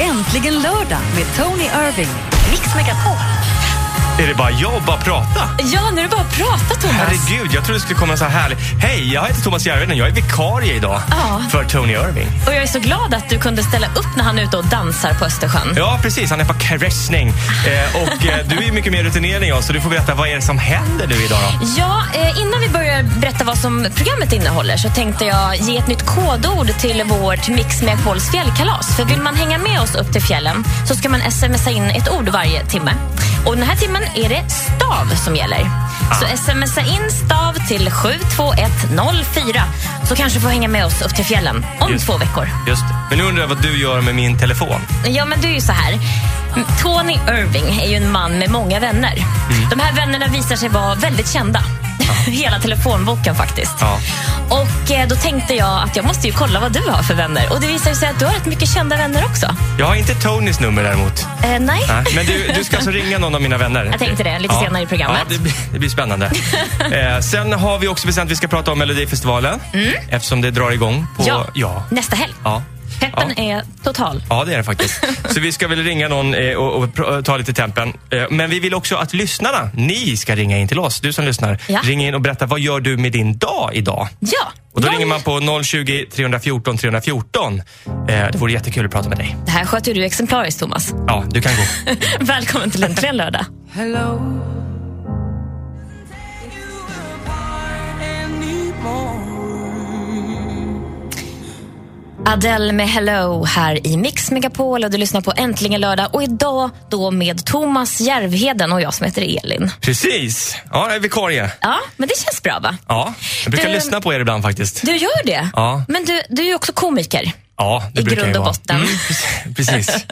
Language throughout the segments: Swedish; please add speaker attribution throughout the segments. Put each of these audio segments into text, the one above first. Speaker 1: Äntligen lördag med Tony Irving. Mix Megapol.
Speaker 2: Är det bara jag och bara prata?
Speaker 1: Ja, nu är det bara att prata, Thomas.
Speaker 2: Herregud, jag trodde det skulle komma så här härligt. Hej, jag heter Thomas Järvheden. Jag är vikarie idag
Speaker 1: Ja.
Speaker 2: för Tony Irving.
Speaker 1: Och jag är så glad att du kunde ställa upp när han är ute och dansar på Östersjön.
Speaker 2: Ja, precis. Han är på caressning.
Speaker 1: Ah.
Speaker 2: Eh, och eh, du är ju mycket mer rutinerad än jag, så du får berätta vad är det som händer nu idag då?
Speaker 1: Ja, eh, innan vi börjar berätta vad som programmet innehåller så tänkte jag ge ett nytt kodord till vårt Mix Megapols fjällkalas. För vill man hänga med oss upp till fjällen så ska man smsa in ett ord varje timme. Och den här timmen är det stav som gäller.
Speaker 2: Ah.
Speaker 1: Så smsa in stav till 72104 så kanske du får hänga med oss upp till fjällen om
Speaker 2: Just.
Speaker 1: två veckor.
Speaker 2: Just det. Men nu undrar jag vad du gör med min telefon.
Speaker 1: Ja, men det är ju så här. Tony Irving är ju en man med många vänner.
Speaker 2: Mm.
Speaker 1: De här vännerna visar sig vara väldigt kända. Hela telefonboken faktiskt.
Speaker 2: Ja.
Speaker 1: Och eh, då tänkte jag att jag måste ju kolla vad du har för vänner. Och det visar ju sig att du har rätt mycket kända vänner också.
Speaker 2: Jag har inte Tonys nummer däremot.
Speaker 1: Eh, nej?
Speaker 2: Nej, Men du, du ska alltså ringa någon av mina vänner?
Speaker 1: Jag tänkte det, lite senare i programmet.
Speaker 2: Ja, det, blir, det blir spännande. eh, sen har vi också bestämt att vi ska prata om Melodifestivalen eftersom det drar igång. På,
Speaker 1: Mm. ja.
Speaker 2: ja.
Speaker 1: nästa helg.
Speaker 2: Ja.
Speaker 1: Peppen
Speaker 2: Ja.
Speaker 1: är total.
Speaker 2: Ja, det är det faktiskt. Så vi ska väl ringa någon eh, och, och pr- ta lite tempen. Eh, Men vi vill också att lyssnarna, ni ska ringa in till oss, du som lyssnar.
Speaker 1: Ja.
Speaker 2: Ring in och berätta, vad gör du med din dag idag?
Speaker 1: Ja.
Speaker 2: Och då
Speaker 1: Noll-
Speaker 2: ringer man på 020 314 314. Eh, Det vore jättekul att prata med dig.
Speaker 1: Det här sköter du exemplariskt, Thomas.
Speaker 2: Ja, du kan gå.
Speaker 1: Välkommen till Äntligen lördag.
Speaker 3: Hello.
Speaker 1: Adele med Hello här i Mix Megapol och du lyssnar på Äntligen lördag och idag då med Thomas Järvheden och jag som heter Elin.
Speaker 2: Precis. Ja, jag är vikarie.
Speaker 1: Ja, men det känns bra va?
Speaker 2: Ja, jag brukar
Speaker 1: Du-
Speaker 2: lyssna på er ibland faktiskt.
Speaker 1: Du gör det?
Speaker 2: Ja.
Speaker 1: Men du, du är ju också komiker.
Speaker 2: Ja, det
Speaker 1: I
Speaker 2: brukar
Speaker 1: grund
Speaker 2: jag
Speaker 1: och
Speaker 2: vara.
Speaker 1: botten.
Speaker 2: Mm, precis.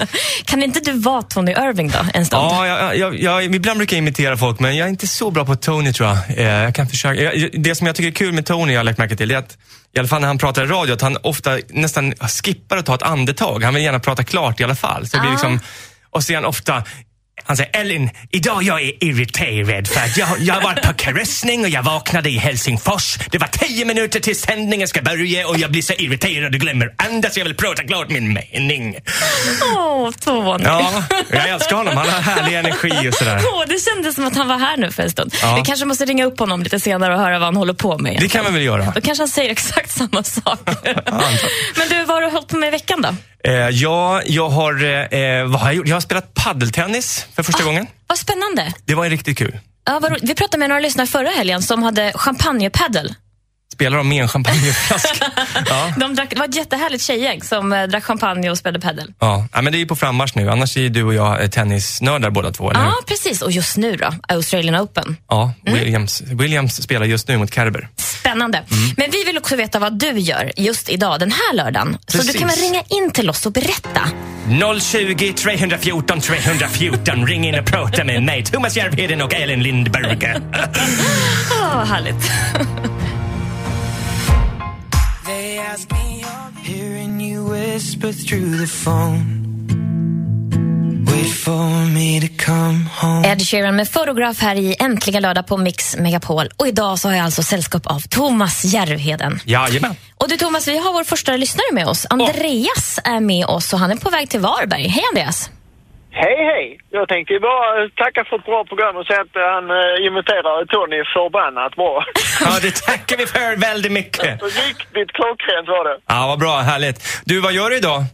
Speaker 1: Kan inte du vara Tony Irving då en stund?
Speaker 2: Ja, jag, jag, jag, ibland brukar jag imitera folk, men jag är inte så bra på Tony tror jag. Eh, jag kan försöka. Jag, det som jag tycker är kul med Tony, jag har lagt märke till, det är att i alla fall när han pratar i radio, att han ofta nästan skippar att ta ett andetag. Han vill gärna prata klart i alla fall. Så det blir
Speaker 1: Ah.
Speaker 2: liksom, och sen ofta han säger Ellen, idag jag är irriterad för att jag, jag har varit på caressning och jag vaknade i Helsingfors. Det var tio minuter till sändningen ska börja och jag blir så irriterad och glömmer andas. Jag vill prata klart min mening.
Speaker 1: Åh, Tony.
Speaker 2: Ja, jag älskar honom. Han har härlig energi och sådär.
Speaker 1: Åh, det kändes som att han var här nu för en stund.
Speaker 2: Ja.
Speaker 1: Vi kanske måste ringa upp honom lite senare och höra vad han håller på med.
Speaker 2: Det kan man väl göra.
Speaker 1: Då kanske han säger exakt samma sak. men du, vad har du hållit på med i veckan då?
Speaker 2: Eh, ja, jag har, eh, eh, vad har jag gjort? Jag har spelat paddeltennis för första gången.
Speaker 1: Vad spännande.
Speaker 2: Det var ju riktigt kul.
Speaker 1: Ja, vad roligt. vi pratade med några lyssnare förra helgen som hade champagnepaddel.
Speaker 2: Spelar de med en champagneflaska? ja.
Speaker 1: De drack, det var ett jättehärligt tjejgäng som eh, drack champagne och spelade padel.
Speaker 2: Ja. ja, men det är ju på frammarsch nu. Annars är ju du och jag eh, tennisnördar båda två, eller
Speaker 1: Ja,
Speaker 2: hur?
Speaker 1: precis. Och just nu då, Australian Open.
Speaker 2: Ja, Williams, Williams spelar just nu mot Kerber.
Speaker 1: Spännande. Men vi vill också veta vad du gör just idag, den här lördagen. Så
Speaker 2: Precis.
Speaker 1: du kan väl ringa in till oss och berätta.
Speaker 2: 020 314 314, ring in och prata med mig, Thomas Järvheden och Elin Lindberg.
Speaker 1: Åh, vad härligt.
Speaker 4: Hearing you whisper through the phone. Wait for me to come home.
Speaker 1: Ed Sheeran med fotograf här i Äntligen lördag på Mix Megapol. Och idag så har jag alltså sällskap av Thomas Järvheden.
Speaker 2: Jajamän.
Speaker 1: Och du Thomas, vi har vår första lyssnare med oss. Andreas är med oss och han är på väg till Varberg. Hej Andreas!
Speaker 5: Hej, hej! Jag tänkte ju bara tacka för ett bra program och säga att han eh, imiterar Tony förbannat bra.
Speaker 2: Ja, det tackar vi för väldigt mycket.
Speaker 5: Riktigt klockrent var det.
Speaker 2: Ja, vad bra, härligt. Du, vad gör du idag?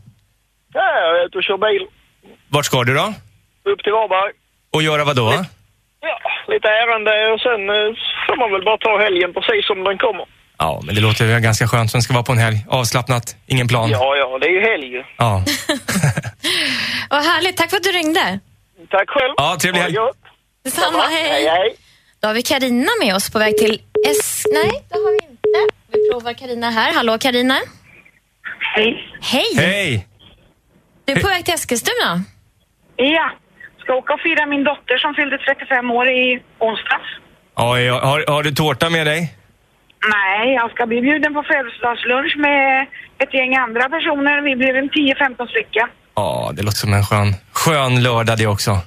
Speaker 5: Ja, jag är ute och kör bil
Speaker 2: Vart ska du då?
Speaker 5: upp till Varberg.
Speaker 2: Och göra vad då?
Speaker 5: Ja, lite ärende och sen eh, får man väl bara ta helgen precis som den kommer.
Speaker 2: Ja, men det låter ju ganska skönt som ska vara på en helg. Avslappnat, ingen plan.
Speaker 5: Ja, ja, det är ju helg ju.
Speaker 2: Ja.
Speaker 1: Vad härligt, tack för att du ringde.
Speaker 5: Tack själv!
Speaker 2: Ja, trevlig
Speaker 5: Ha det
Speaker 2: helg.
Speaker 5: gott.
Speaker 1: Detsamma,
Speaker 5: Hej,
Speaker 1: hej.
Speaker 5: hej!
Speaker 1: Då har vi Karina med oss på väg till S... Nej, det har vi inte. Vi provar Karina här. Hallå Karina.
Speaker 6: Hej.
Speaker 1: Hej!
Speaker 2: Hej!
Speaker 1: Du är på väg till Eskilstuna.
Speaker 6: Ja, ska åka och fira min dotter som fyllde 35 år i onsdags.
Speaker 2: Oj, har, har du tårta med dig?
Speaker 6: Nej, jag ska bli bjuden på födelsedagslunch med ett gäng andra personer. Vi blir en 10-15 stycken.
Speaker 2: Ja, det låter som en skön, skön lördag det också.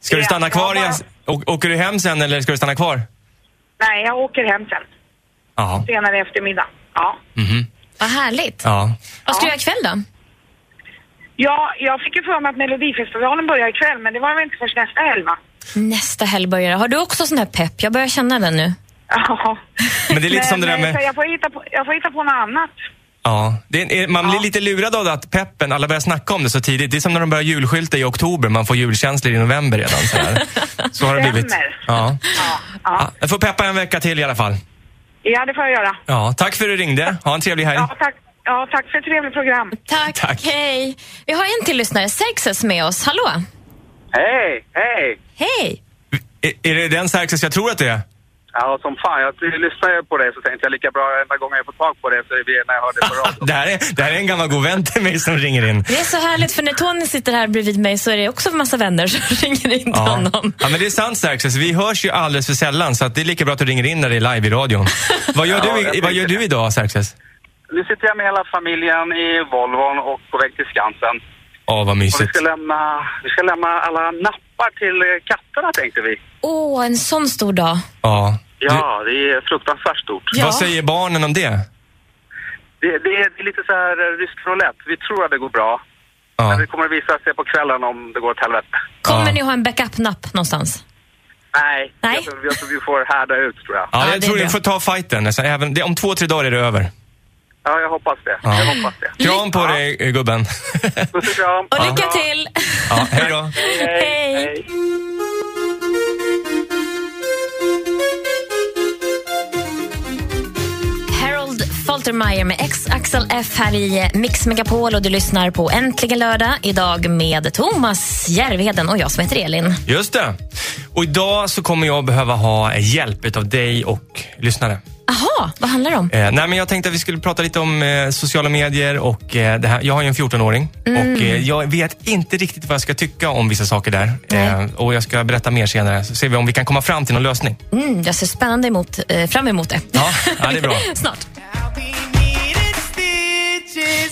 Speaker 2: Ska du
Speaker 6: Ja,
Speaker 2: stanna kvar?
Speaker 6: ja,
Speaker 2: I, å- åker du hem sen eller ska du stanna kvar?
Speaker 6: Nej, jag åker hem sen,
Speaker 2: Ja.
Speaker 6: senare i eftermiddag. Ja.
Speaker 2: Mhm.
Speaker 1: Vad härligt.
Speaker 2: ja.
Speaker 1: Vad ska du
Speaker 6: Ja.
Speaker 1: göra ikväll då?
Speaker 6: Ja, jag fick ju för mig att Melodifestivalen börjar ikväll, men det var väl inte först nästa helg, va?
Speaker 1: Nästa helg börjar Har du också sån här pepp? Jag börjar känna den nu.
Speaker 6: Ja.
Speaker 2: Men det är lite som det där
Speaker 6: eh,
Speaker 2: med-
Speaker 6: så Jag får, hitta på, jag får hitta på något annat.
Speaker 2: Ja, det är, är- man blir
Speaker 6: Ja.
Speaker 2: lite lurad av det att peppen, alla börjar snacka om det så tidigt. Det är som när de börjar julskylta i oktober, man får julkänslor i november redan. Så, här. så har det blivit.
Speaker 6: Stämmer.
Speaker 2: Ja.
Speaker 6: Ja, ja.
Speaker 2: Ja, jag får peppa en vecka till i alla fall.
Speaker 6: ja det får jag göra.
Speaker 2: Ja, tack för att du ringde. Ha en trevlig helg.
Speaker 6: Ja, tack, ja, tack för ett trevligt program.
Speaker 1: Tack,
Speaker 2: Tack.
Speaker 1: hej. Vi har en till lyssnare, Sexes, med oss. Hallå!
Speaker 7: Hej, hej!
Speaker 1: Hej!
Speaker 2: Är, är det den Xerxes jag tror att det är?
Speaker 7: Ja, som fan. Jag lyssnade ju på det så tänkte jag lika bra enda gången jag får tag på det så är det när jag hörde på radion.
Speaker 2: det, här är, det här är en gammal god vän till mig som ringer in.
Speaker 1: Det är så härligt, för när Tony sitter här bredvid mig så är det också en massa vänner som ringer in till
Speaker 2: Ja.
Speaker 1: honom.
Speaker 2: ja, men det är sant Xerxes. Vi hörs ju alldeles för sällan så att det är lika bra att du ringer in när det är live i radion. Vad gör,
Speaker 7: Ja, jag
Speaker 2: du, i, vad
Speaker 7: tänkte
Speaker 2: gör du
Speaker 7: det.
Speaker 2: idag Xerxes?
Speaker 7: Nu sitter jag med hela familjen i Volvon och på väg till Skansen.
Speaker 2: Ja, vad
Speaker 7: Och vi
Speaker 2: mysigt.
Speaker 7: ska, lämna, vi ska lämna alla nappar till eh, katterna tänkte vi.
Speaker 1: Åh, en sån stor dag.
Speaker 2: Ja. Du,
Speaker 7: Ja, det är fruktansvärt stort.
Speaker 1: Ja.
Speaker 2: Vad säger barnen om det?
Speaker 7: Det, det, är- det är lite så här eh, rysk roulette. Vi tror att det går bra. Men
Speaker 2: Ja.
Speaker 7: det kommer att visa sig på kvällen om det går åt helvete.
Speaker 1: Kommer
Speaker 2: Ja.
Speaker 1: ni ha en backup-napp någonstans?
Speaker 7: Nej,
Speaker 1: Nej.
Speaker 7: Jag, tror, jag tror vi får härda ut tror jag.
Speaker 2: Ja,
Speaker 1: Ja,
Speaker 2: jag
Speaker 1: det är
Speaker 2: tror du
Speaker 1: bra.
Speaker 2: får ta fighten. Alltså, även, det, om två, tre dagar är det över.
Speaker 7: Ja, jag hoppas det.
Speaker 2: Ja.
Speaker 7: Jag hoppas det.
Speaker 2: Kram på dig, eh, gubben.
Speaker 7: Puss och kram.
Speaker 1: Och lycka till!
Speaker 2: ja, hej då.
Speaker 1: Hej. Harold Faltermeyer med ex Axel F här i Mix Megapol och du lyssnar på Äntligen lördag idag med Thomas Järvheden och jag som heter Elin.
Speaker 2: Just det. Och idag så kommer jag behöva ha hjälp av dig och lyssnare.
Speaker 1: Aha, vad handlar det om?
Speaker 2: Eh, nej, men jag tänkte att vi skulle prata lite om eh, sociala medier och eh, det här. Jag har ju en 14-åring och eh, jag vet inte riktigt vad jag ska tycka om vissa saker där. Eh, och jag ska berätta mer senare så ser vi om vi kan komma fram till någon lösning.
Speaker 1: Mm, jag ser spännande emot, eh, fram emot det.
Speaker 2: Ja, ja, det är bra.
Speaker 1: Snart.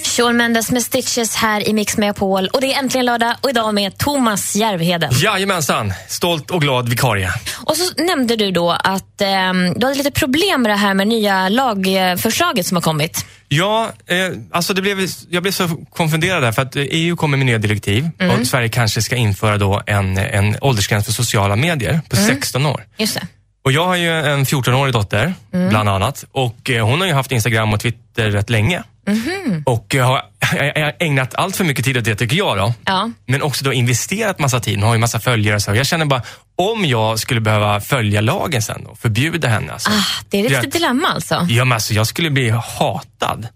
Speaker 1: Shawn Mendes med Stitches här i Mix Megapol och det är äntligen lördag och idag med Thomas Järvheden.
Speaker 2: Jajamensan, stolt och glad vikarie.
Speaker 1: Och så nämnde du då att ehm, du hade lite problem med det här med nya lagförslaget som har kommit.
Speaker 2: Ja, eh, alltså det blev, jag blev så konfunderad där för att eh, EU kommer med nya direktiv och Sverige kanske ska införa då en, en åldersgräns för sociala medier på 16 år.
Speaker 1: Just det.
Speaker 2: Och jag har ju en 14-årig dotter,
Speaker 1: Mm.
Speaker 2: bland annat. Och eh, hon har ju haft Instagram och Twitter rätt länge.
Speaker 1: Mhm.
Speaker 2: Och eh, har jag- jag har ägnat allt för mycket tid åt det, tycker jag. då.
Speaker 1: Ja.
Speaker 2: Men också då investerat massa tid. Hon har ju massa följare. och Så jag känner bara, om jag skulle behöva följa lagen sen och förbjuda henne. Alltså,
Speaker 1: Ah, det är ett riktigt dilemma alltså.
Speaker 2: ja, men alltså, jag skulle bli hatad.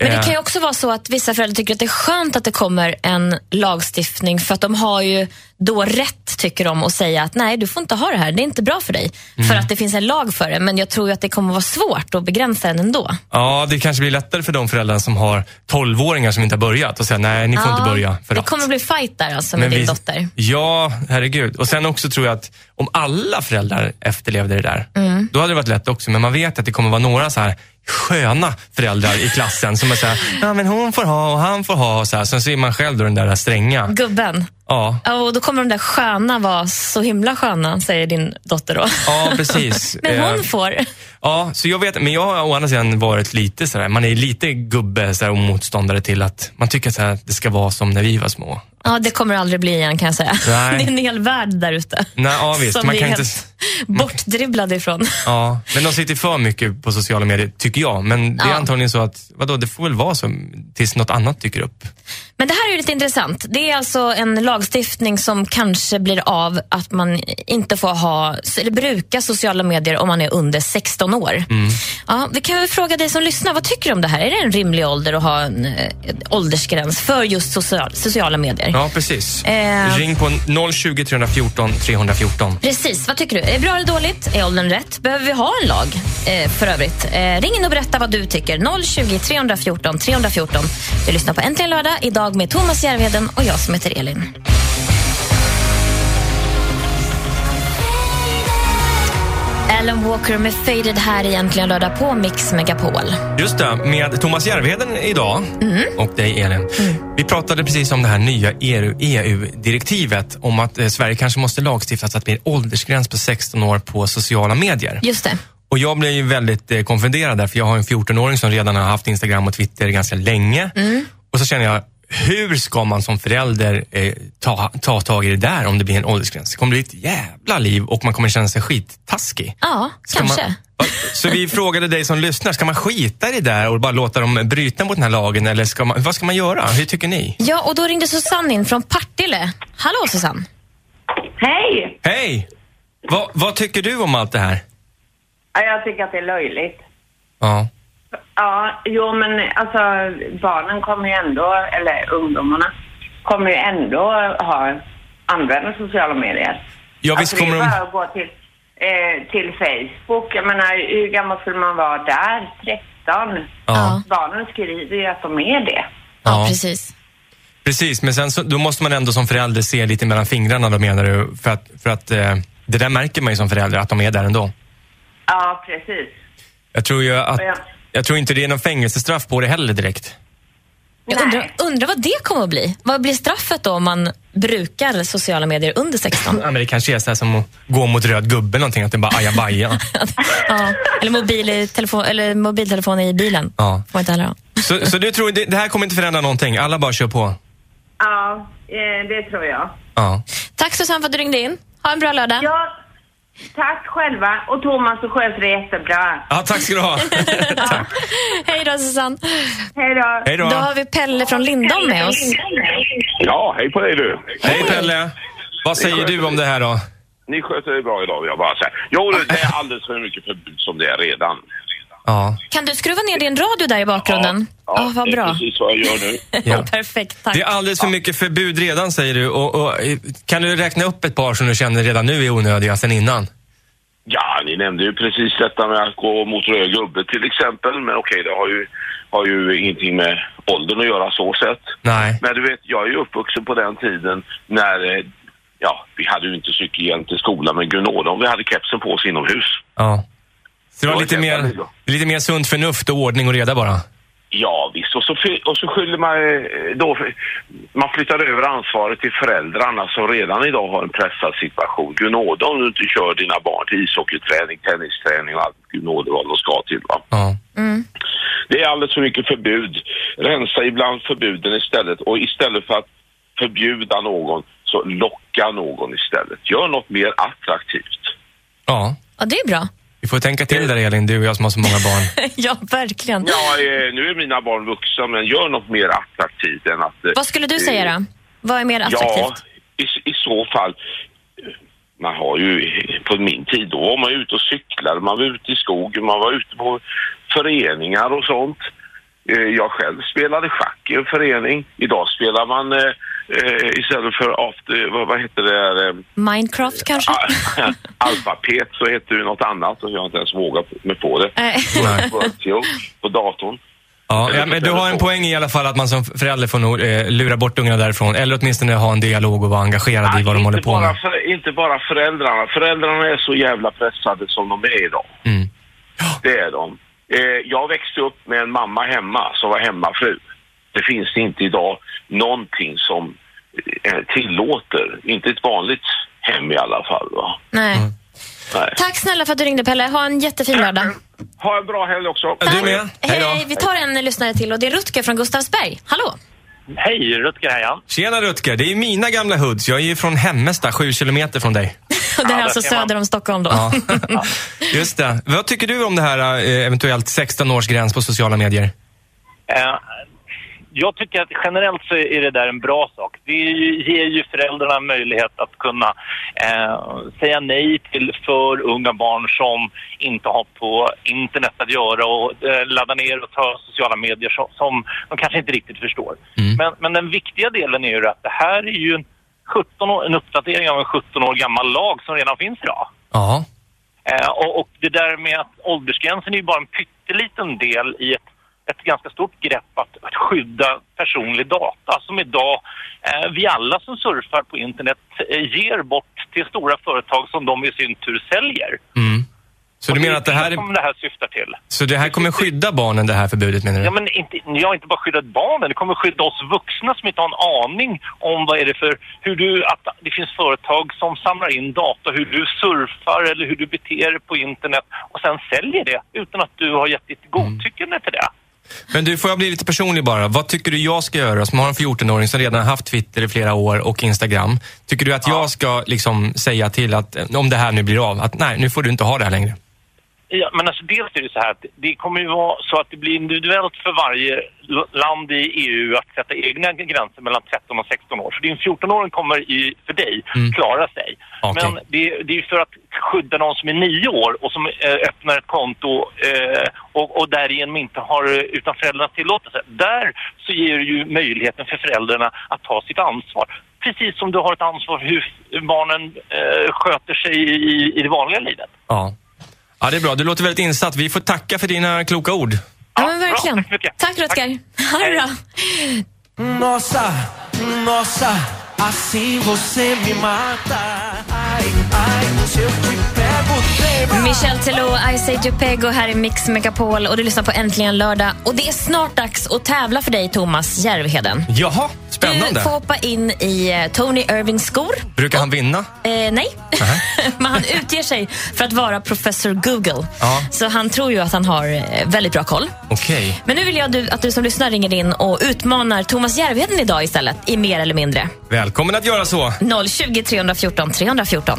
Speaker 1: Men det
Speaker 2: Eh,
Speaker 1: kan ju också vara så att vissa föräldrar tycker att det är skönt att det kommer en lagstiftning för att de har ju då rätt, tycker de, att säga att nej, du får inte ha det här, det är inte bra för dig. För
Speaker 2: Mm.
Speaker 1: att det finns en lag för det, men jag tror ju att det kommer vara svårt att begränsa den ändå.
Speaker 2: Ja, det kanske blir lättare för de föräldrar som har 12-åringar som inte har börjat och säger nej, ni får inte börja. För
Speaker 1: Ah, det
Speaker 2: att-
Speaker 1: kommer bli fight där alltså med din
Speaker 2: vi-
Speaker 1: dotter.
Speaker 2: Ja, herregud. Och sen också tror jag att om alla föräldrar efterlevde det där,
Speaker 1: Mm.
Speaker 2: då hade det varit lätt också. Men man vet att det kommer vara några så här sköna föräldrar i klassen som är så här, ja men hon får ha och han får ha och så här. Sen så är man själv då den där stränga.
Speaker 1: Gubben.
Speaker 2: Ja,
Speaker 1: Ja, och då kommer de där sköna vara så himla sköna, säger din dotter då.
Speaker 2: ja precis.
Speaker 1: Men
Speaker 2: Eh,
Speaker 1: hon får.
Speaker 2: Ja, så jag vet, men jag har å andra sidan varit lite så här, man är lite gubbe så här, och motståndare till att man tycker så här, att det ska vara som när vi var små.
Speaker 1: Ja, det kommer det aldrig bli igen kan jag säga.
Speaker 2: Nej.
Speaker 1: Det är en hel värld där ute.
Speaker 2: Nej, ja, visst.
Speaker 1: Som
Speaker 2: Man
Speaker 1: vi
Speaker 2: kan
Speaker 1: är
Speaker 2: inte-
Speaker 1: helt bortdribblade ifrån.
Speaker 2: Ja, men de sitter för mycket på sociala medier, tycker jag. Men det är
Speaker 1: Ja.
Speaker 2: antagligen så att, vadå, det får väl vara så tills något annat dyker upp.
Speaker 1: Men det här är ju lite intressant. Det är alltså en lagstiftning som kanske blir av att man inte får ha eller bruka sociala medier om man är under 16 år. Ja, vi kan väl fråga dig som lyssnar, vad tycker du om det här? Är det en rimlig ålder att ha en eh, åldersgräns för just social, sociala medier?
Speaker 2: Ja, precis.
Speaker 1: Eh.
Speaker 2: Ring på 020 314 314.
Speaker 1: Precis, vad tycker du? Är det bra eller dåligt? Är åldern rätt? Behöver vi ha en lag eh, för övrigt? Eh, ring in och berätta vad du tycker. 020 314 314. Du lyssnar på Äntligen lördag idag med Thomas Järvheden och jag som heter Elin. Alan Walker med Faded här i Äntligen lördag på Mix Megapol.
Speaker 2: Just det, med Thomas Järvheden idag och dig Elin. Vi pratade precis om det här nya E EU- EU-direktivet om att eh, Sverige kanske måste lagstifta så att det blir åldersgräns på 16 år på sociala medier.
Speaker 1: Just det.
Speaker 2: Och jag blev ju väldigt eh, konfunderad där, för jag har en 14-åring som redan har haft Instagram och Twitter ganska länge. Och så känner jag, hur ska man som förälder eh, ta, ta tag i det där om det blir en åldersgräns? Det kommer bli ett jävla liv och man kommer känna sig skittaskig.
Speaker 1: Ja,
Speaker 2: Ska
Speaker 1: kanske.
Speaker 2: Man, Ja, så vi frågade dig som lyssnar, ska man skita i det där och bara låta dem bryta mot den här lagen eller ska man, vad ska man göra? Hur tycker ni?
Speaker 1: Ja, och då ringde Susanne in från Partille. Hallå Susanne!
Speaker 8: Hej!
Speaker 2: Hej! Vad- vad tycker du om allt det här?
Speaker 8: Ja, Jag tycker att det är löjligt.
Speaker 2: Ja.
Speaker 8: Ja, jo men alltså barnen kommer ju ändå, eller ungdomarna, kommer ju ändå ha, använda sociala medier.
Speaker 2: Ja, visst
Speaker 8: alltså, det är
Speaker 2: kommer de-
Speaker 8: bara att gå till, eh, till Facebook. Jag menar, hur gammal skulle man vara där? 13?
Speaker 2: Ja.
Speaker 8: Barnen skriver ju att de är det.
Speaker 1: Ja,
Speaker 2: Ja.
Speaker 1: precis.
Speaker 2: Precis, men sen så, då måste man ändå som förälder se lite mellan fingrarna då menar du? För att, för att eh, det där märker man ju som förälder, att de är där ändå.
Speaker 8: Ja, precis.
Speaker 2: Jag tror ju att,
Speaker 8: Ja.
Speaker 2: jag tror inte det är någon fängelsestraff på det heller direkt.
Speaker 1: Jag undrar,
Speaker 8: Nej.
Speaker 1: undrar vad det kommer att bli. Vad blir straffet då om man brukar sociala medier under 16?
Speaker 2: Ja, men det kanske är så här som att gå mot röd gubbe eller någonting, att det bara ajabaja.
Speaker 1: ja. Eller, mobil i telefon, eller mobiltelefon i bilen.
Speaker 2: Ja.
Speaker 1: Får man inte heller ha.
Speaker 2: så, så du tror, det, det här kommer inte förändra någonting, alla bara kör på?
Speaker 8: Ja, eh, det tror jag.
Speaker 2: Ja.
Speaker 1: Tack Susanne för att du ringde in. Ha en bra lördag.
Speaker 8: Ja, tack själva. Och Thomas, du sköter det jättebra.
Speaker 2: ja tack ska du ha. tack.
Speaker 1: Hej då Susanne.
Speaker 8: Hej då.
Speaker 2: Hej
Speaker 1: Då har
Speaker 2: då.
Speaker 1: vi Pelle från Lindom med oss.
Speaker 5: Ja, hej på dig du.
Speaker 2: Hej Pelle. Vad säger du om det här då?
Speaker 5: Ni sköter er bra idag vill jag bara säga. Jo, det är alldeles för mycket förbud som det är redan.
Speaker 2: Ja.
Speaker 1: Kan du skruva ner din radio där i bakgrunden?
Speaker 5: Ja,
Speaker 1: Ja, vad
Speaker 5: det är
Speaker 1: bra.
Speaker 5: precis vad jag gör nu.
Speaker 2: Ja.
Speaker 1: Perfekt, tack.
Speaker 2: Det är alldeles för mycket förbud redan säger du. Och, och, eh, kan du räkna upp ett par som du känner redan nu är onödiga sen innan?
Speaker 5: Ja, ni nämnde ju precis detta med att gå mot röd gubbe till exempel. Men okej, det har ju, har ju ingenting med åldern att göra så sett.
Speaker 2: Nej.
Speaker 5: Men du vet, jag är ju uppvuxen på den tiden när, eh, ja, vi hade ju inte cykelhjälm till skolan, men gunåda om vi hade kepsen på oss inomhus.
Speaker 2: Ja. Så det var
Speaker 5: Ja,
Speaker 2: lite
Speaker 5: det är
Speaker 2: mer,
Speaker 5: bra.
Speaker 2: lite mer sunt förnuft och ordning och reda bara.
Speaker 5: Ja, visst. Och så, fy- och så skyller man eh, då... Man flyttar över ansvaret till föräldrarna som redan idag har en pressad situation. Gud nåde om du inte kör dina barn till ishockeyträning, tennisträning och allt. Gud nåde vad de ska till. Va?
Speaker 2: Ja.
Speaker 5: Det är alldeles för mycket förbud. Rensa ibland förbuden istället. Och istället för att förbjuda någon så locka någon istället. Gör något mer attraktivt.
Speaker 2: Ja.
Speaker 1: Ja, det är bra.
Speaker 2: Vi får tänka till där Elin, du och jag som har så många barn.
Speaker 1: ja, verkligen.
Speaker 5: Ja, eh, nu är mina barn vuxna, men gör något mer attraktivt än att... eh,
Speaker 1: Vad skulle du säga då? Vad är mer
Speaker 5: Ja,
Speaker 1: attraktivt?
Speaker 5: i, i så fall. Man har ju, på min tid då var man ju ute och cyklade, man var ute i skogen, man var ute på föreningar och sånt. Eh, Jag själv spelade schack i en förening. Idag spelar man eh, eh, istället för after, vad, vad heter det där, eh,
Speaker 1: Minecraft kanske?
Speaker 5: a- alfabet så heter det något annat och jag har inte ens vågat mig på det.
Speaker 1: Nej.
Speaker 2: Nej.
Speaker 5: Workflow På datorn.
Speaker 2: Ja, ja, men du har en poäng i alla fall att man som förälder får nog eh, lura bort ungarna därifrån. Eller åtminstone ha en dialog och vara engagerad i vad de
Speaker 5: inte,
Speaker 2: håller på
Speaker 5: bara
Speaker 2: med.
Speaker 5: för, inte bara föräldrarna. Föräldrarna är så jävla pressade som de är idag.
Speaker 2: Mm.
Speaker 5: Det är de. Eh, jag växte upp med en mamma hemma som var hemmafru. Det finns inte idag någonting som eh, tillåter. Inte ett vanligt hem i alla fall. Va?
Speaker 2: Mm.
Speaker 1: Nej.
Speaker 5: Nej.
Speaker 1: Tack snälla för att du ringde Pelle. Ha en jättefin lördag.
Speaker 5: Ha en bra helg också.
Speaker 2: Ja, Du med?
Speaker 1: Hej,
Speaker 2: Hej
Speaker 1: hej.
Speaker 2: då.
Speaker 1: Vi tar en lyssnare till och det är Rutger från Gustavsberg. Hallå!
Speaker 7: Hej, Rutger här ja.
Speaker 2: Tjena Rutger, det är mina gamla hoods. Jag är ju från Hemmesta, sju kilometer från dig.
Speaker 1: Och det här är
Speaker 7: där
Speaker 1: alltså
Speaker 7: ser man.
Speaker 1: söder om Stockholm då.
Speaker 2: Ja. Just det. Vad tycker du om det här eh, eventuellt 16-årsgräns på sociala medier?
Speaker 7: Eh, jag tycker att generellt så är det där en bra sak. Det är ju- ger ju föräldrarna möjlighet att kunna eh, säga nej till för unga barn som inte har på internet att göra och eh, ladda ner och ta sociala medier som, som de kanske inte riktigt förstår. Men, men den viktiga delen är ju att det här är ju en, 17 år, en uppdatering av en 17 år gammal lag som redan finns idag.
Speaker 2: Ja.
Speaker 7: Eh, och, och det där med att åldersgränsen är ju bara en pytteliten del i ett, ett ganska stort grepp att, att skydda personlig data som idag eh, vi alla som surfar på internet eh, ger bort till stora företag som de i sin tur säljer.
Speaker 2: Mm. Så du
Speaker 7: Och
Speaker 2: menar att det här,
Speaker 7: är som det här syftar till?
Speaker 2: så det här kommer skydda barnen, det här förbudet menar
Speaker 7: Ja,
Speaker 2: du?
Speaker 7: men inte, jag har inte bara skyddat barnen, det kommer skydda oss vuxna som inte har en aning om vad är det för, hur du, att det finns företag som samlar in data, hur du surfar eller hur du beter dig på internet och sen säljer det utan att du har gett ditt godtycke till det.
Speaker 2: Men du, får jag bli lite personlig bara? Vad tycker du jag ska göra som har en 14-åring som redan har haft Twitter i flera år och Instagram? Tycker du att jag ska liksom säga till att eh, om det här nu blir av, att nej, nu får du inte ha det här längre?
Speaker 7: Ja, men alltså dels är det så här att det kommer ju vara så att det blir individuellt för varje l- land i EU att sätta egna gränser mellan 13 och 16 år. Så din 14-åring kommer i, för dig klara sig.
Speaker 2: Okej.
Speaker 7: Men det, det är ju för att skydda någon som är 9 år och som eh, öppnar ett konto eh, och, och därigenom inte har eh, utan föräldrarnas tillåtelse. Där så ger du ju möjligheten för föräldrarna att ta sitt ansvar. Precis som du har ett ansvar för hur f- barnen eh, sköter sig i, i det vanliga livet.
Speaker 2: Ja. Ja, det är bra. Du låter väldigt insatt. Vi får tacka för dina kloka ord.
Speaker 1: Ja, men verkligen.
Speaker 7: Bra, tack så mycket.
Speaker 1: Tack, Rutger. Ha det bra.
Speaker 4: Nossa, nossa, assim você me mata. Ai, ai, se eu te pego, trema.
Speaker 1: Michel Teló, I say Jupego här i Mix Megapol och du lyssnar på Äntligen lördag. Och det är snart dags att tävla för dig, Thomas Järvheden.
Speaker 2: Jaha,
Speaker 1: Du
Speaker 2: spännande.
Speaker 1: får hoppa in i eh, Tony Irvings skor.
Speaker 2: Brukar han vinna?
Speaker 1: Eh, nej, men han utger sig för att vara professor Google.
Speaker 2: Ja.
Speaker 1: Så han tror ju att han har eh, väldigt bra koll.
Speaker 2: Okej.
Speaker 1: Men nu vill jag du, att du som lyssnar ringer in och utmanar Thomas Järvheden idag istället, i mer eller mindre.
Speaker 2: Välkommen att göra så.
Speaker 1: 020 314 314.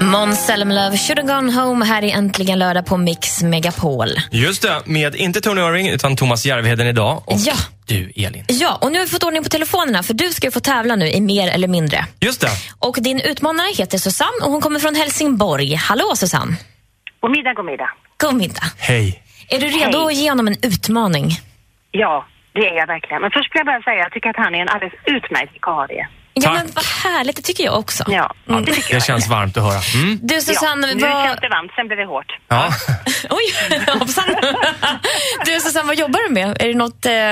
Speaker 1: Måns Zelmerlöw, Should have gone home här i Äntligen lördag på Mix Megapol.
Speaker 2: Just det, med inte Tony Irving utan Thomas Järvheden idag och
Speaker 1: Ja.
Speaker 2: du, Elin.
Speaker 1: Ja, och nu har vi fått ordning på telefonerna för du ska ju få tävla nu i mer eller mindre.
Speaker 2: Just det.
Speaker 1: Och din utmanare heter Susanne och hon kommer från Helsingborg. Hallå Susanne!
Speaker 8: God middag, god middag.
Speaker 1: Kom inte.
Speaker 2: Hej.
Speaker 1: Är du redo
Speaker 8: Hej.
Speaker 1: att ge honom en utmaning?
Speaker 8: Ja, det är jag verkligen. Men först ska jag bara säga att jag tycker att han är en alldeles utmärkt vikarie.
Speaker 1: Ja,
Speaker 2: Tack.
Speaker 1: men vad härligt, det tycker jag också.
Speaker 8: Ja,
Speaker 2: Ja,
Speaker 8: det tycker jag.
Speaker 2: känns varmt att höra. Mm.
Speaker 1: Du Susanne,
Speaker 8: ja. Nu
Speaker 1: vad...
Speaker 8: känns det varmt, sen blir det hårt.
Speaker 2: Ja.
Speaker 1: Oj, hoppsan. Du Susanne, vad jobbar du med? Är det något... Eh...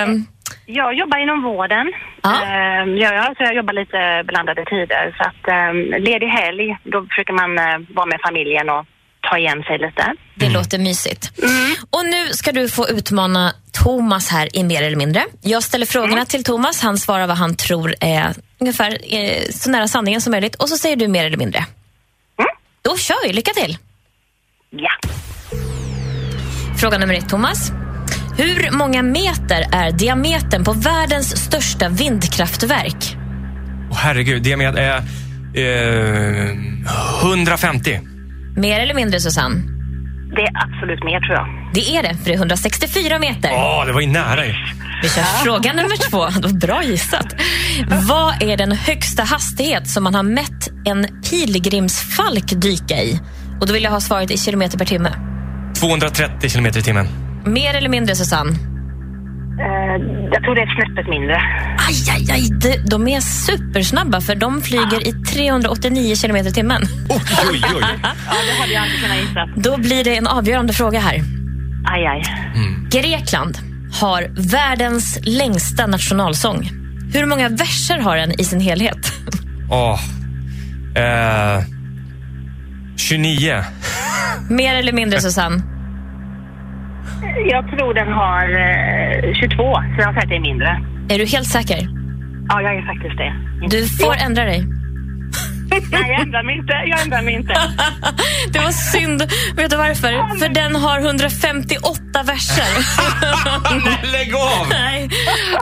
Speaker 8: Jag jobbar inom vården.
Speaker 1: Ja.
Speaker 8: Ehm, gör jag, så jag jobbar lite blandade tider. Så att, ehm, ledig helg, då försöker man eh, vara med familjen och ta igen sig lite.
Speaker 1: Det låter mysigt. Mm. Och nu ska du få utmana Thomas här i Mer eller mindre. Jag ställer frågorna
Speaker 8: Mm.
Speaker 1: till Thomas. Han svarar vad han tror är ungefär eh, så nära sanningen som möjligt. Och så säger du mer eller mindre.
Speaker 8: Mm.
Speaker 1: Då kör vi. Lycka till.
Speaker 8: Ja.
Speaker 1: Fråga nummer ett, Thomas. Hur många meter är diametern på världens största vindkraftverk?
Speaker 2: Åh, herregud, det med är eh, 150.
Speaker 1: Mer eller mindre, Susanne?
Speaker 8: Det är absolut mer, tror jag.
Speaker 1: Det är det, för det är 164 meter.
Speaker 2: Ja, det var ju nära ju.
Speaker 1: Vi kör fråga nummer två. Det var Bra gissat. Vad är den högsta hastighet som man har mätt en pilgrimsfalk dyka i? Och då vill jag ha svaret i kilometer per timme.
Speaker 2: 230 kilometer i timmen.
Speaker 1: Mer eller mindre, Susanne?
Speaker 8: Ehm, jag tror det är snäppet mindre.
Speaker 1: Aj, aj, aj. De, de är supersnabba, för de flyger i 389 kilometer i timmen.
Speaker 2: Oj, oj, oj.
Speaker 8: Det hade jag inte kunnat gissa.
Speaker 1: Då blir det en avgörande fråga här.
Speaker 8: Aj, aj.
Speaker 1: Grekland har världens längsta nationalsång. Hur många verser har den i sin helhet?
Speaker 2: Åh. Eh, 29.
Speaker 1: Mer eller mindre, Susanne?
Speaker 8: Jag tror den har eh, 22, så jag säger att det är mindre.
Speaker 1: Är du helt säker?
Speaker 8: Ja, jag är faktiskt det.
Speaker 1: Du får ändra dig.
Speaker 8: Nej, jag ändrar mig inte. Jag ändrar mig inte.
Speaker 1: Det var synd. Vet du varför? För den har 158 verser.
Speaker 2: Nej, lägg av!
Speaker 1: Nej,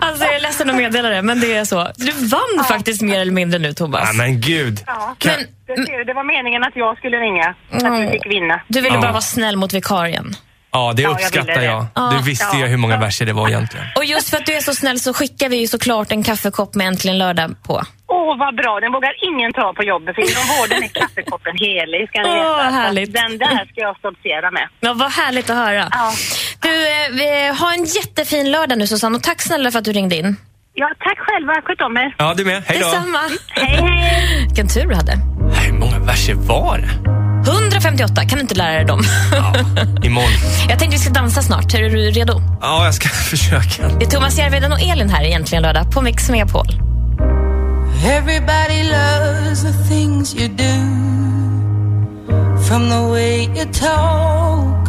Speaker 1: alltså jag är ledsen att meddela det, men det är så. Du vann faktiskt mer eller mindre nu, Thomas.
Speaker 2: Nej, men gud.
Speaker 8: Ja.
Speaker 2: Kan-
Speaker 8: Det, ser du, det var meningen att jag skulle ringa, att du fick vinna.
Speaker 1: Du ville
Speaker 2: Ja.
Speaker 1: bara vara snäll mot vikarien.
Speaker 2: Ja, det
Speaker 8: Ja, jag
Speaker 2: uppskattar
Speaker 8: ville
Speaker 2: jag.
Speaker 8: det.
Speaker 1: Ja.
Speaker 2: Du visste ju hur många verser det var egentligen.
Speaker 1: Och just för att du är så snäll så skickar vi ju såklart en kaffekopp med Äntligen lördag på.
Speaker 8: Åh, vad bra. Den vågar ingen ta på jobbet, för inom vården är kaffekoppen helig. Ska ni
Speaker 1: Åh,
Speaker 8: veta. Så
Speaker 1: härligt.
Speaker 8: Den där ska jag stoltsera med.
Speaker 1: Ja, vad härligt att höra.
Speaker 8: Ja.
Speaker 1: Du, eh, vi- ha en jättefin lördag nu, Susanne. Och tack snälla för att du ringde in.
Speaker 8: Ja, tack själva. Sköt om er.
Speaker 2: Ja, du med. Hej då.
Speaker 1: Detsamma.
Speaker 8: Hej, hej.
Speaker 1: Vilken tur du hade.
Speaker 2: Hur många verser var det?
Speaker 1: 158, kan du inte lära dig dem?
Speaker 2: Imorgon.
Speaker 1: Jag tänkte vi ska dansa snart. Är du redo?
Speaker 2: Ja, jag ska försöka.
Speaker 1: Det är Thomas Järvheden och Elin här egentligen lördag på Mix Megapol.
Speaker 4: Everybody loves the things you do. From the way you talk,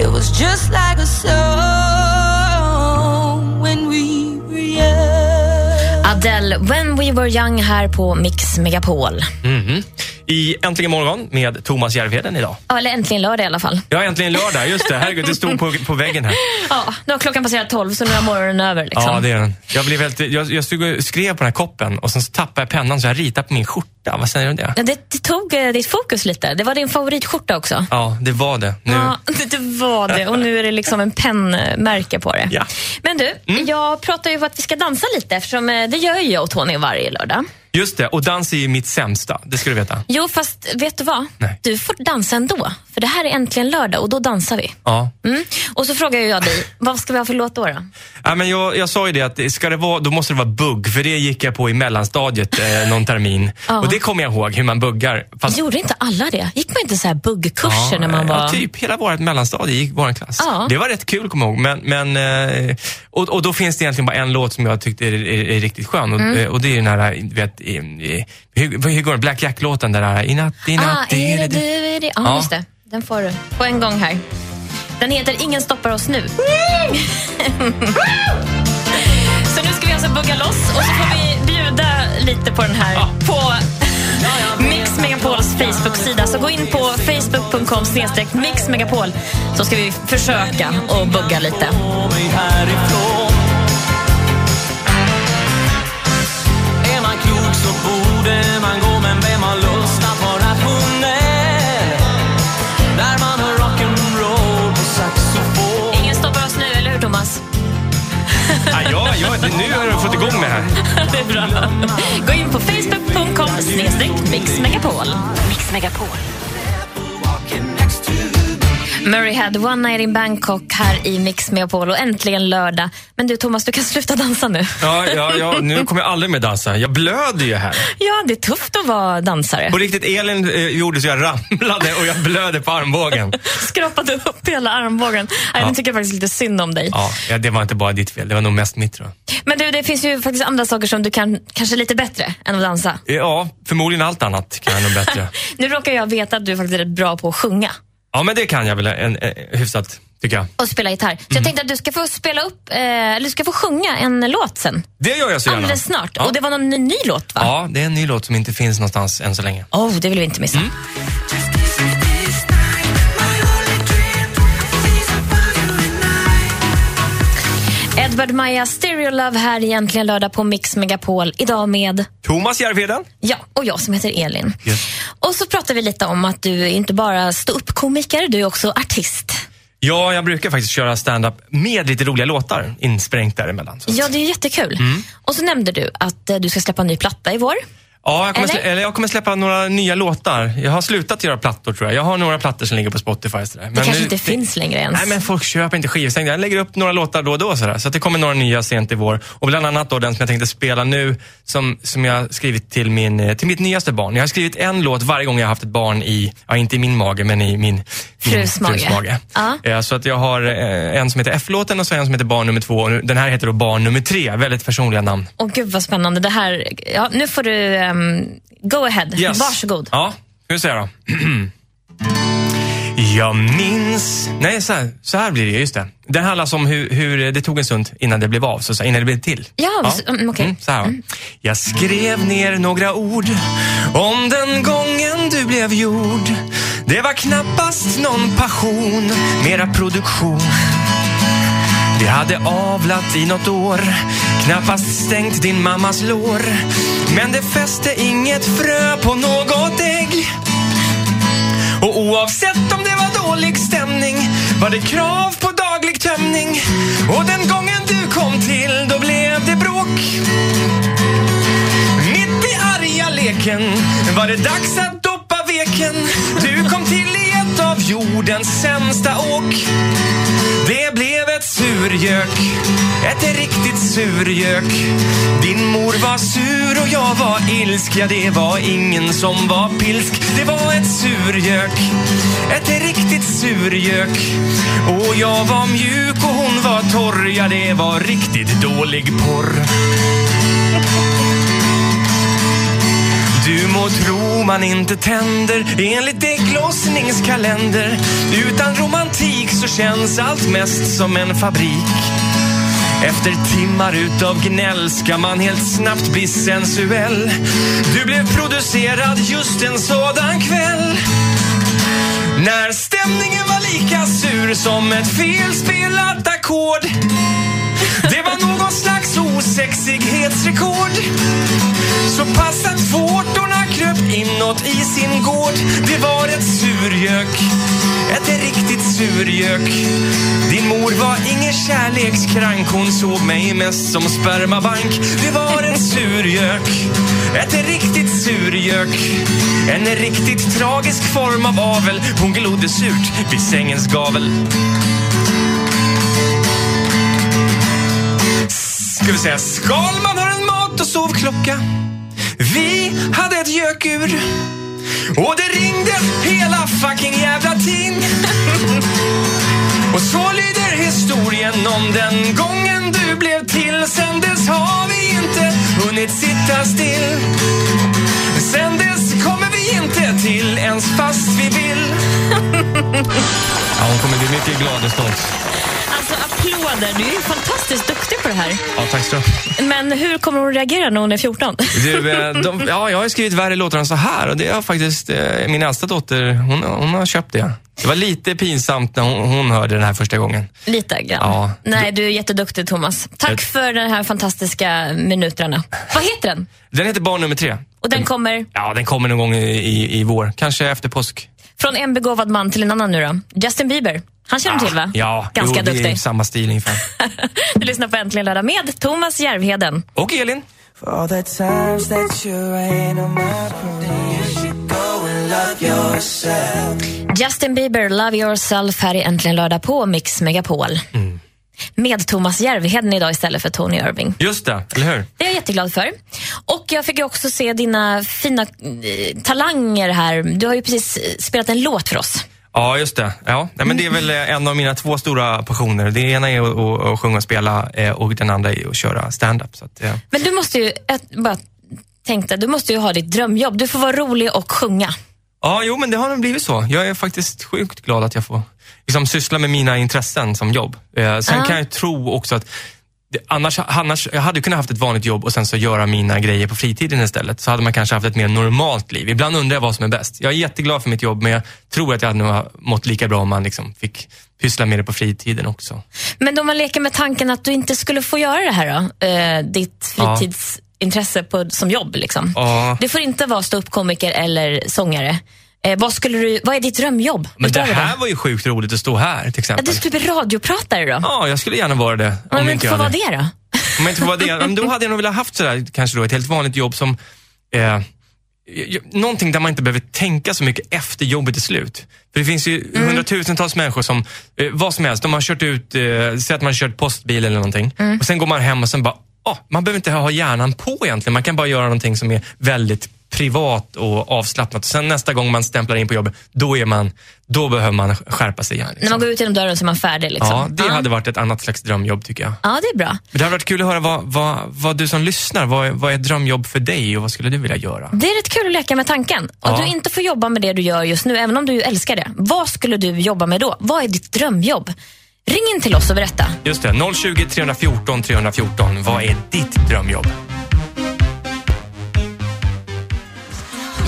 Speaker 4: it was just like a song when we were young.
Speaker 1: Adele, When We Were Young här på Mix Megapol.
Speaker 2: Mhm. i Äntligen morgon med Thomas Järvheden idag.
Speaker 1: Ja, eller äntligen lördag i alla fall.
Speaker 2: Ja, äntligen lördag. Just det, herregud, det stod på, på väggen här.
Speaker 1: Ja, nu har klockan passerat 12 så nu är morgonen över. Liksom.
Speaker 2: Ja, det är den. Jag, blev helt, jag, jag stod och skrev på den här koppen och sen så tappade jag pennan så jag ritade på min skjorta. Vad säger du om det?
Speaker 1: Ja, det, det tog eh, ditt fokus lite. Det var din favoritskjorta också.
Speaker 2: Ja, det var det. Nu.
Speaker 1: Ja, det- det var det. Och nu är det liksom en pennmärke på det.
Speaker 2: Ja. Mm.
Speaker 1: Men du, jag pratar ju om att vi ska dansa lite eftersom eh, det gör ju jag och Tony varje lördag.
Speaker 2: Just det, och dans är ju mitt sämsta. Det ska du veta.
Speaker 1: Jo, fast vet du vad?
Speaker 2: Nej.
Speaker 1: Du får dansa ändå. För det här är äntligen lördag och då dansar vi.
Speaker 2: Ja.
Speaker 1: Mm. Och så frågar ju jag dig, vad ska vi ha för låt då? då?
Speaker 2: Ja, men jag, jag sa ju det att det- ska det vara, då måste det vara bugg, för det gick jag på i mellanstadiet eh, någon termin.
Speaker 1: Ja.
Speaker 2: Och det kommer jag ihåg, hur man buggar. Fast-
Speaker 1: Gjorde inte alla det? Gick man inte så här buggkurser när man var...
Speaker 2: Alltså. Ja, typ hela vårt mellanstadie gick vår klass.
Speaker 1: Ja.
Speaker 2: Det var rätt kul, kommer jag ihåg. Men, men, eh, och, och då finns det egentligen bara en låt som jag tyckte är, är, är riktigt skön. Och,
Speaker 1: Mm.
Speaker 2: eh, och det är den här, eh, vet, i- i- hur, hur går den? Black Jack-låten, den där i natt, i natt,
Speaker 1: Ah, är det du, är det... Ja,
Speaker 2: Ja.
Speaker 1: just det. Den får du. På en gång här. Den heter Ingen stoppar oss nu. så nu ska vi alltså bugga loss och så får vi bjuda lite på den här på Mix Megapols Facebook-sida. Så gå in på facebook.com snedstreck Mix Megapol så ska vi försöka att bugga lite.
Speaker 4: Är man klok så borde man gå men vem har lust att vara rationell? När man hör rock'n'roll på saxofon
Speaker 1: Ingen stoppar oss nu, eller hur Thomas?
Speaker 2: Ah, ja, ja, det- nu har jag fått igång det här.
Speaker 1: Det är bra. Gå in på facebook.com snedstreck Mix Megapol.
Speaker 9: Mix Megapol.
Speaker 1: Murray Head, One Night in Bangkok här i Mix Megapol och äntligen lördag. Men du Thomas, du kan sluta dansa nu.
Speaker 2: Ja, ja, ja, nu kommer jag aldrig mer dansa. Jag blöder ju här.
Speaker 1: Ja, det är tufft att vara dansare.
Speaker 2: På riktigt, Elin eh, gjorde så jag ramlade och jag blöder på armbågen.
Speaker 1: Skrapade upp hela armbågen. Nej, Nu tycker jag faktiskt lite synd om dig.
Speaker 2: Ja, ja, det var inte bara ditt fel. Det var nog mest mitt, tror jag.
Speaker 1: Men du, det finns ju faktiskt andra saker som du kan kanske lite bättre än att dansa.
Speaker 2: Ja, förmodligen allt annat kan jag nog bättre.
Speaker 1: Nu råkar jag veta att du faktiskt är rätt bra på att sjunga
Speaker 2: Ja, men det kan jag väl en, en, hyfsat, tycker jag.
Speaker 1: och spela gitarr. Så
Speaker 2: Mm.
Speaker 1: jag tänkte att du ska få spela upp, eh, eller du ska få sjunga en låt sen.
Speaker 2: Det gör jag så gärna.
Speaker 1: Alldeles snart.
Speaker 2: Ja.
Speaker 1: Och det var någon ny, ny låt va?
Speaker 2: ja, det är en ny låt som inte finns någonstans än så länge.
Speaker 1: Oh, det vill vi inte missa. Edvard Maja, Stereo Love här egentligen lördag på Mix Megapol. Idag med,
Speaker 2: Thomas Järvheden.
Speaker 1: ja, och jag som heter Elin.
Speaker 2: Yes.
Speaker 1: Och så pratar vi lite om att du är inte bara ståuppkomiker, du är också artist.
Speaker 2: Ja, jag brukar faktiskt köra stand-up med lite roliga låtar insprängt däremellan. Så.
Speaker 1: Ja, det är jättekul.
Speaker 2: Mm.
Speaker 1: Och så nämnde du att eh, du ska släppa en ny platta i vår.
Speaker 2: Ja, jag kommer,
Speaker 1: Eller?
Speaker 2: Slä, eller jag kommer släppa några nya låtar. Jag har slutat göra plattor tror jag. Jag har några plattor som ligger på Spotify. och Sådär. Men
Speaker 1: Det kanske inte finns längre ens.
Speaker 2: Nej, men folk köper inte skivstänger. Jag lägger upp några låtar då och då. Sådär. Så att det kommer några nya sent i vår. Och bland annat då den som jag tänkte spela nu, som, som jag skrivit till, min, eh, till mitt nyaste barn. Jag har skrivit en låt varje gång jag har haft ett barn i, ja inte i min mage, men i min
Speaker 1: Frus mage. Ja.
Speaker 2: Eh, Så att jag har eh, en som heter F-låten och så en som heter Barn nummer två. Och nu- Den här heter då Barn nummer tre. Väldigt personliga namn.
Speaker 1: Åh gud vad spännande. Det här, ja, nu får du ehm, go ahead.
Speaker 2: Yes.
Speaker 1: Varsågod.
Speaker 2: Ja, ska vi se då. Jag minns... Nej, så här, så här blir det. Just det. Den handlar om hur, hur det tog en stund innan det blev av, så, så, här, innan det blev till.
Speaker 1: Ja, så- mm, okej.
Speaker 2: så här. Jag skrev ner några ord om den gången du blev gjord. Det var knappast någon passion, mera produktion. Det hade avlat i något år Knappast stängt din mammas lår Men det fäste inget frö på något ägg Och oavsett om det var dålig stämning Var det krav på daglig tömning Och den gången du kom till Då blev det bråk mitt i arga leken var det dags att doppa veken. Du kom till i ett av jordens sämsta åk. Det blev ett surjök, ett riktigt surjök. Din mor var sur och jag var ilsk. Ja, det var ingen som var pilsk. Det var ett surjök, ett riktigt surjök. Och jag var mjuk och hon var torr. Ja, det var riktigt dålig porr. Du må tro man inte tänder enligt ägglossningskalender. Utan romantik så känns allt mest som en fabrik. Efter timmar utav gnäll ska man helt snabbt bli sensuell Du blev producerad just en sådan kväll När stämningen var lika sur som ett felspelat ackord Det var någon slags osexighetsrekord Så pass att vårtorna kröp inåt i sin gård Det var ett surjök, ett riktigt surjök Din mor var ingen kärlekskrank Hon såg mig mest som spermabank Det var en surjök, ett riktigt surjök En riktigt tragisk form av avel Hon glodde surt vid sängens gavel Ska vi säga Skalman har en mat och sovklocka Vi hade ett gökur Och det ringde hela fucking jävla tin Och så lyder historien om den gången du blev till Sen dess har vi inte hunnit sitta still Sen dess kommer vi inte till ens fast vi vill Ja, hon kommer bli mycket glad och stolt.
Speaker 1: Alltså applåder, du är ju fantastiskt duktig på det här.
Speaker 2: Ja, tack så du
Speaker 1: Men hur kommer hon reagera när hon är 14?
Speaker 2: Du, eh, de, ja, jag har ju skrivit värre låtar än så här och det har faktiskt eh, min äldsta dotter, hon, hon har köpt det. Det var lite pinsamt när hon, hon hörde den här första gången.
Speaker 1: Lite grann.
Speaker 2: Ja.
Speaker 1: Nej, du är jätteduktig Thomas. Tack
Speaker 2: Jag-
Speaker 1: för de här fantastiska minuterna. Vad heter den?
Speaker 2: Den heter Barn nummer tre.
Speaker 1: Och den kommer
Speaker 2: Ja, den kommer någon gång i, i, i vår, kanske efter påsk.
Speaker 1: från en begåvad man till en annan nu då. Justin Bieber. Han känner du till va?
Speaker 2: Ah, Ja,
Speaker 1: Ganska
Speaker 2: jo, det är
Speaker 1: duktig.
Speaker 2: samma stil ungefär.
Speaker 1: Du lyssnar på Äntligen lördag med Thomas Järvheden.
Speaker 2: Och Elin.
Speaker 4: all the times that you rain on my parade. You should go and love yourself.
Speaker 1: Justin Bieber, Love Yourself här i Äntligen lördag på Mix Megapol.
Speaker 2: Mm.
Speaker 1: Med Thomas Järvheden idag istället för Tony Irving.
Speaker 2: Just det, eller hur?
Speaker 1: Det är jag jätteglad för. Och jag fick ju också se dina fina eh, talanger här. Du har ju precis eh, spelat en låt för oss.
Speaker 2: Ja, just det. Ja. Nej, men det är väl eh, en av mina två stora passioner. Det ena är att, att, att sjunga och spela eh, och den andra är att köra stand-up. Så att, eh,
Speaker 1: Men du måste ju, jag bara tänkte, du måste ju ha ditt drömjobb. Du får vara rolig och sjunga.
Speaker 2: Ja, jo, men det har nog blivit så. Jag är faktiskt sjukt glad att jag får liksom, syssla med mina intressen som jobb. Eh, sen
Speaker 1: Ja.
Speaker 2: kan jag tro också att det, annars, annars, jag hade kunnat haft ett vanligt jobb och sen så göra mina grejer på fritiden istället. Så hade man kanske haft ett mer normalt liv. Ibland undrar jag vad som är bäst. Jag är jätteglad för mitt jobb, men jag tror att jag hade nog mått lika bra om man liksom fick pyssla med det på fritiden också.
Speaker 1: Men då man leker med tanken att du inte skulle få göra det här då, eh, ditt
Speaker 2: Ja.
Speaker 1: fritidsintresse på, som jobb liksom.
Speaker 2: Ja.
Speaker 1: Det får inte vara ståuppkomiker eller sångare. Eh, vad, skulle du, vad är ditt drömjobb?
Speaker 2: Men det
Speaker 1: utöver
Speaker 2: här var ju sjukt roligt att stå här till
Speaker 1: Ja,
Speaker 2: exempel.
Speaker 1: du skulle bli radiopratare då?
Speaker 2: Ja, Oh jag skulle gärna vara det.
Speaker 1: Men om du
Speaker 2: jag
Speaker 1: inte får
Speaker 2: hade-
Speaker 1: vara det då?
Speaker 2: Om jag inte får vara det, men då hade jag nog velat haft sådär, kanske då ett helt vanligt jobb som eh, j- Någonting där man inte behöver tänka så mycket efter jobbet är slut. För det finns ju hundratusentals människor som, eh, vad som helst, de har kört ut, eh, säg att man har kört postbil eller någonting. Och sen går man hem och sen bara, ah, man behöver inte ha hjärnan på egentligen. Man kan bara göra någonting som är väldigt privat och avslappnat. Sen nästa gång man stämplar in på jobbet, då, är man, då behöver man skärpa sig igen.
Speaker 1: När
Speaker 2: Liksom.
Speaker 1: man går ut genom dörren så är man färdig liksom?
Speaker 2: Ja, det hade varit ett annat slags drömjobb tycker jag.
Speaker 1: Ja, det är bra.
Speaker 2: Men Det hade varit kul att höra vad, vad, vad du som lyssnar, vad, vad är ett drömjobb för dig och vad skulle du vilja göra?
Speaker 1: Det är rätt kul att leka med tanken. Om
Speaker 2: Ja.
Speaker 1: du inte får jobba med det du gör just nu, även om du ju älskar det, vad skulle du jobba med då? Vad är ditt drömjobb? Ring in till oss och berätta.
Speaker 2: Just det, 020 314 314. Vad är ditt drömjobb?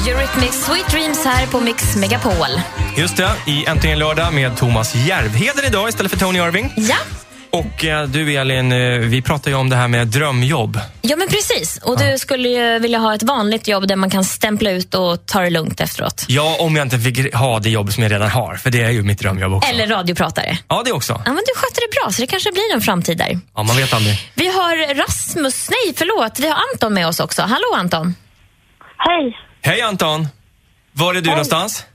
Speaker 1: Eurythmics Sweet Dreams här på Mix Megapol.
Speaker 2: Just det, i Äntligen lördag med Thomas Järvheden idag istället för Tony Irving.
Speaker 1: Ja,
Speaker 2: Och eh, du Elin, eh, vi pratar ju om det här med drömjobb.
Speaker 1: ja men precis. Och du skulle ju vilja ha ett vanligt jobb där man kan stämpla ut och ta det lugnt efteråt.
Speaker 2: Ja, om jag inte fick ha det jobb som jag redan har, för det är ju mitt drömjobb också.
Speaker 1: Eller radiopratare.
Speaker 2: Ja, det också.
Speaker 1: Ja, men du skötte det bra, så det kanske blir en framtid där.
Speaker 2: Ja, man vet aldrig.
Speaker 1: Vi har Rasmus, nej förlåt, vi har Anton med oss också. Hallå Anton.
Speaker 9: Hej!
Speaker 2: Hej Anton! Var är du någonstans?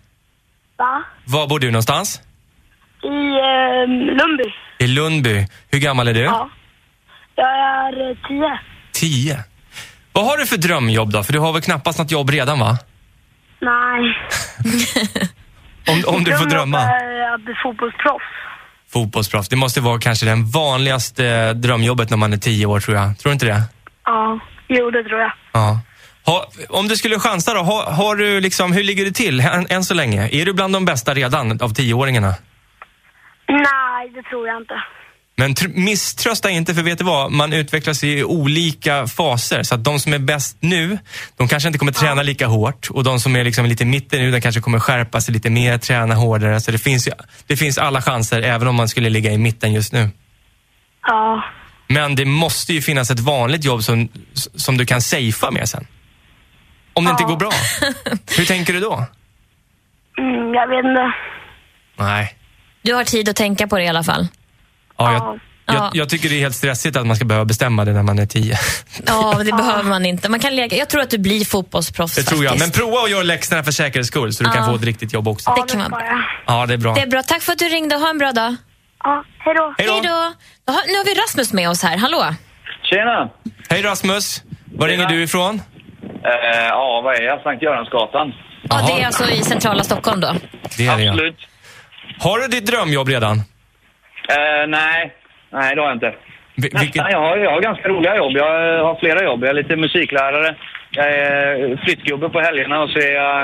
Speaker 9: Va?
Speaker 2: Var bor du någonstans?
Speaker 9: I eh, Lundby.
Speaker 2: I Lundby. Hur gammal är du?
Speaker 9: Ja. Jag är eh, tio.
Speaker 2: Tio. Vad har du för drömjobb då? För du har väl knappast något jobb redan va?
Speaker 9: Nej.
Speaker 2: Om, om du får drömma.
Speaker 6: eh.
Speaker 9: Jag är att bli fotbollsproffs.
Speaker 2: Fotbollsproffs, det måste vara kanske den vanligaste eh, drömjobbet när man är tio år tror jag. Tror du inte det?
Speaker 9: Ja, jo det tror jag.
Speaker 2: Ja. Ha, om du skulle chansa då, ha, har du liksom, hur ligger det till än, än så länge? Är du bland de bästa redan av tioåringarna?
Speaker 9: Nej, det tror jag inte.
Speaker 2: Men tr- misströsta inte, för vet du vad? Man utvecklas i olika faser. Så att de som är bäst nu, de kanske inte kommer träna lika hårt. Och de som är liksom lite i mitten nu, de kanske kommer skärpa sig lite mer, träna hårdare. Så det finns, ju, det finns alla chanser, även om man skulle ligga i mitten just nu.
Speaker 9: Ja.
Speaker 2: Men det måste ju finnas ett vanligt jobb som, som du kan safea med sen. Om det inte går bra. Hur tänker du då?
Speaker 9: Mm, jag vet inte.
Speaker 2: Nej.
Speaker 1: Du har tid att tänka på det i alla fall.
Speaker 2: Ja,
Speaker 9: Ja.
Speaker 2: jag, jag, jag tycker det är helt stressigt att man ska behöva bestämma det när man är tio.
Speaker 1: Ja, men det behöver man inte. Man kan leka. Jag tror att du blir fotbollsproffs
Speaker 2: Det tror jag. Men
Speaker 1: faktiskt.
Speaker 2: prova att göra läxorna för säkerhets skull så du
Speaker 1: Ja.
Speaker 2: kan få ett riktigt jobb också.
Speaker 9: Ja,
Speaker 1: Det kan vara
Speaker 9: ska
Speaker 1: bra.
Speaker 9: jag.
Speaker 2: Ja, det är bra.
Speaker 1: Det är bra. Tack för att du ringde. Ha en bra dag.
Speaker 9: Ja, hej då.
Speaker 2: Hej då!
Speaker 1: Hej då. Jaha, Nu har vi Rasmus med oss här. Hallå.
Speaker 7: Tjena!
Speaker 2: Hej Rasmus! Var ringer du ifrån?
Speaker 7: Eh, ja, vad är jag? Sankt Göransgatan.
Speaker 1: Ja, det
Speaker 2: Jaha.
Speaker 1: är alltså i centrala Stockholm då.
Speaker 2: Det är det, ja.
Speaker 7: Absolut.
Speaker 2: Har du ditt drömjobb redan?
Speaker 7: Eh, nej, nej det har jag inte.
Speaker 2: Vi- vilket-
Speaker 7: Nästan, jag, har, jag har ganska roliga jobb. Jag eh, har flera jobb. Jag är lite musiklärare. Jag är eh, flyttgubbe på helgerna och så är jag,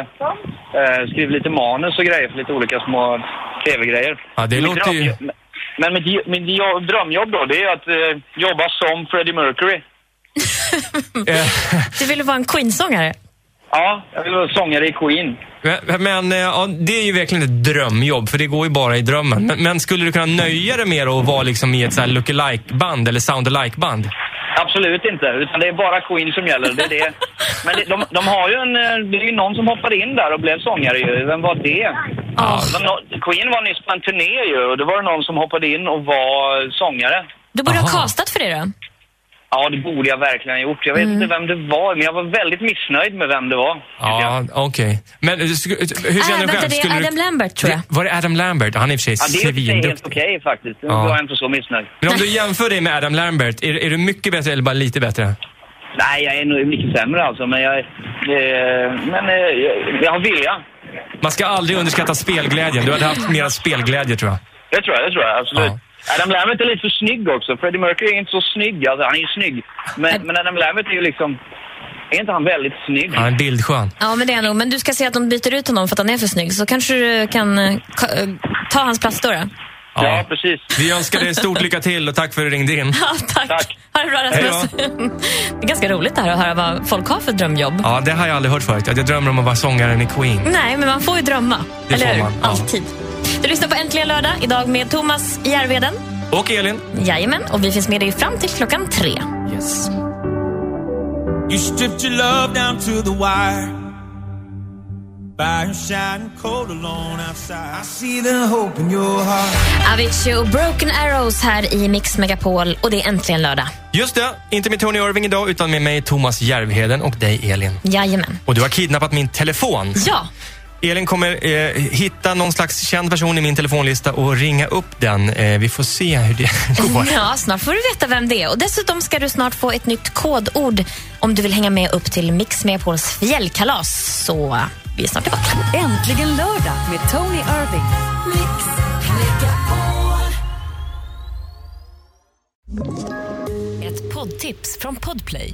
Speaker 7: eh, skriver lite manus och grejer för lite olika små tv-grejer.
Speaker 2: Ja, det
Speaker 7: Mitt
Speaker 2: låter ju-
Speaker 7: drömjobb- Men mitt, jo- mitt jo- drömjobb då, det är att eh, jobba som Freddie Mercury.
Speaker 2: eh,
Speaker 1: Du ville vara en Queensångare.
Speaker 7: Ja, jag vill vara sångare i Queen.
Speaker 2: men- Men eh, ja, det är ju verkligen ett drömjobb, för det går ju bara i drömmen. Men, men skulle du kunna nöja dig med att vara liksom i ett så här look-alike-band eller sound-alike-band?
Speaker 7: Absolut inte, utan det är bara Queen som gäller. Det är det. Men det, de, de har ju en... eh, Det är ju någon som hoppade in där och blev sångare ju. Vem var det?
Speaker 1: Ja.
Speaker 7: Men nå- Queen var nyss på en turné ju och det var det någon som hoppade in och var eh, sångare.
Speaker 1: Du borde
Speaker 2: Aha.
Speaker 1: ha castat för det då.
Speaker 7: Ja, det borde jag verkligen ha gjort. Jag vet inte vem det var, men jag var väldigt missnöjd med vem det var. tycker jag.
Speaker 2: Ja, okej. Men eh, sk- hur känner du
Speaker 1: Äh, vänta,
Speaker 2: själv?
Speaker 1: det
Speaker 2: Skulle
Speaker 1: är
Speaker 2: du-
Speaker 1: Adam Lambert tror jag.
Speaker 2: Var det Adam Lambert? Han är i och för sig
Speaker 7: Ja, det är i och för sig helt
Speaker 2: svinduktig.
Speaker 7: okej faktiskt. Då
Speaker 2: Ja.
Speaker 7: var jag inte så missnöjd.
Speaker 2: Men om du jämför dig med Adam Lambert, är, är du mycket bättre eller bara lite bättre?
Speaker 7: Nej, jag är nog mycket sämre alltså, men jag... Eh, men eh, jag, jag har vilja.
Speaker 2: Man ska aldrig underskatta spelglädjen. Du hade haft mera spelglädje tror jag.
Speaker 7: Det tror jag, det tror jag. Absolut.
Speaker 2: Ja.
Speaker 7: Adam Lambert är lite för snygg också. Freddie Mercury är inte så snygg. Alltså, han är ju snygg. Men, men Adam Lambert är ju liksom... Är inte han väldigt snygg?
Speaker 2: Han är bildskön.
Speaker 1: Ja, men det är han nog. Men du ska se att de byter ut honom för att han är för snygg. Så kanske du kan eh, ka- eh, ta hans plats då. då.
Speaker 7: Ja,
Speaker 2: Ja.
Speaker 7: precis.
Speaker 2: Vi önskar dig stort lycka till och tack för att du ringde in.
Speaker 1: Ja, tack.
Speaker 7: Tack.
Speaker 1: Ha det bra Rasmus. Det är ganska roligt det här att höra vad folk har för drömjobb.
Speaker 2: Ja, det har jag aldrig hört förut. Att Jag drömmer om att vara sångaren i Queen.
Speaker 1: Nej, men man får ju drömma.
Speaker 2: Det
Speaker 1: eller
Speaker 2: får
Speaker 1: hur?
Speaker 2: man, ja.
Speaker 1: Alltid. Du lyssnar på Äntligen lördag idag med Thomas i Järveden.
Speaker 2: Och Elin.
Speaker 1: Jajamän, och vi finns med dig fram till klockan tre.
Speaker 4: You stripped your love down to the wire. By your shining cold alone outside. I see the hope in your heart.
Speaker 1: Avicii och Broken Arrows här i Mix Megapol och det är Äntligen lördag.
Speaker 2: Just det, inte med Tony Irving idag utan med mig Thomas Järvheden och dig Elin.
Speaker 1: Jajamän.
Speaker 2: Och du har kidnappat min telefon.
Speaker 1: Ja,
Speaker 2: Elin kommer eh, hitta någon slags känd person i min telefonlista och ringa upp den. Eh, vi får se hur det går.
Speaker 1: Ja, snart får du veta vem det är. Och dessutom ska du snart få ett nytt kodord om du vill hänga med upp till Mix Megapols fjällkalas. Så eh, vi är snart tillbaka.
Speaker 10: Äntligen lördag med Tony Irving.
Speaker 11: Ett poddtips från Podplay.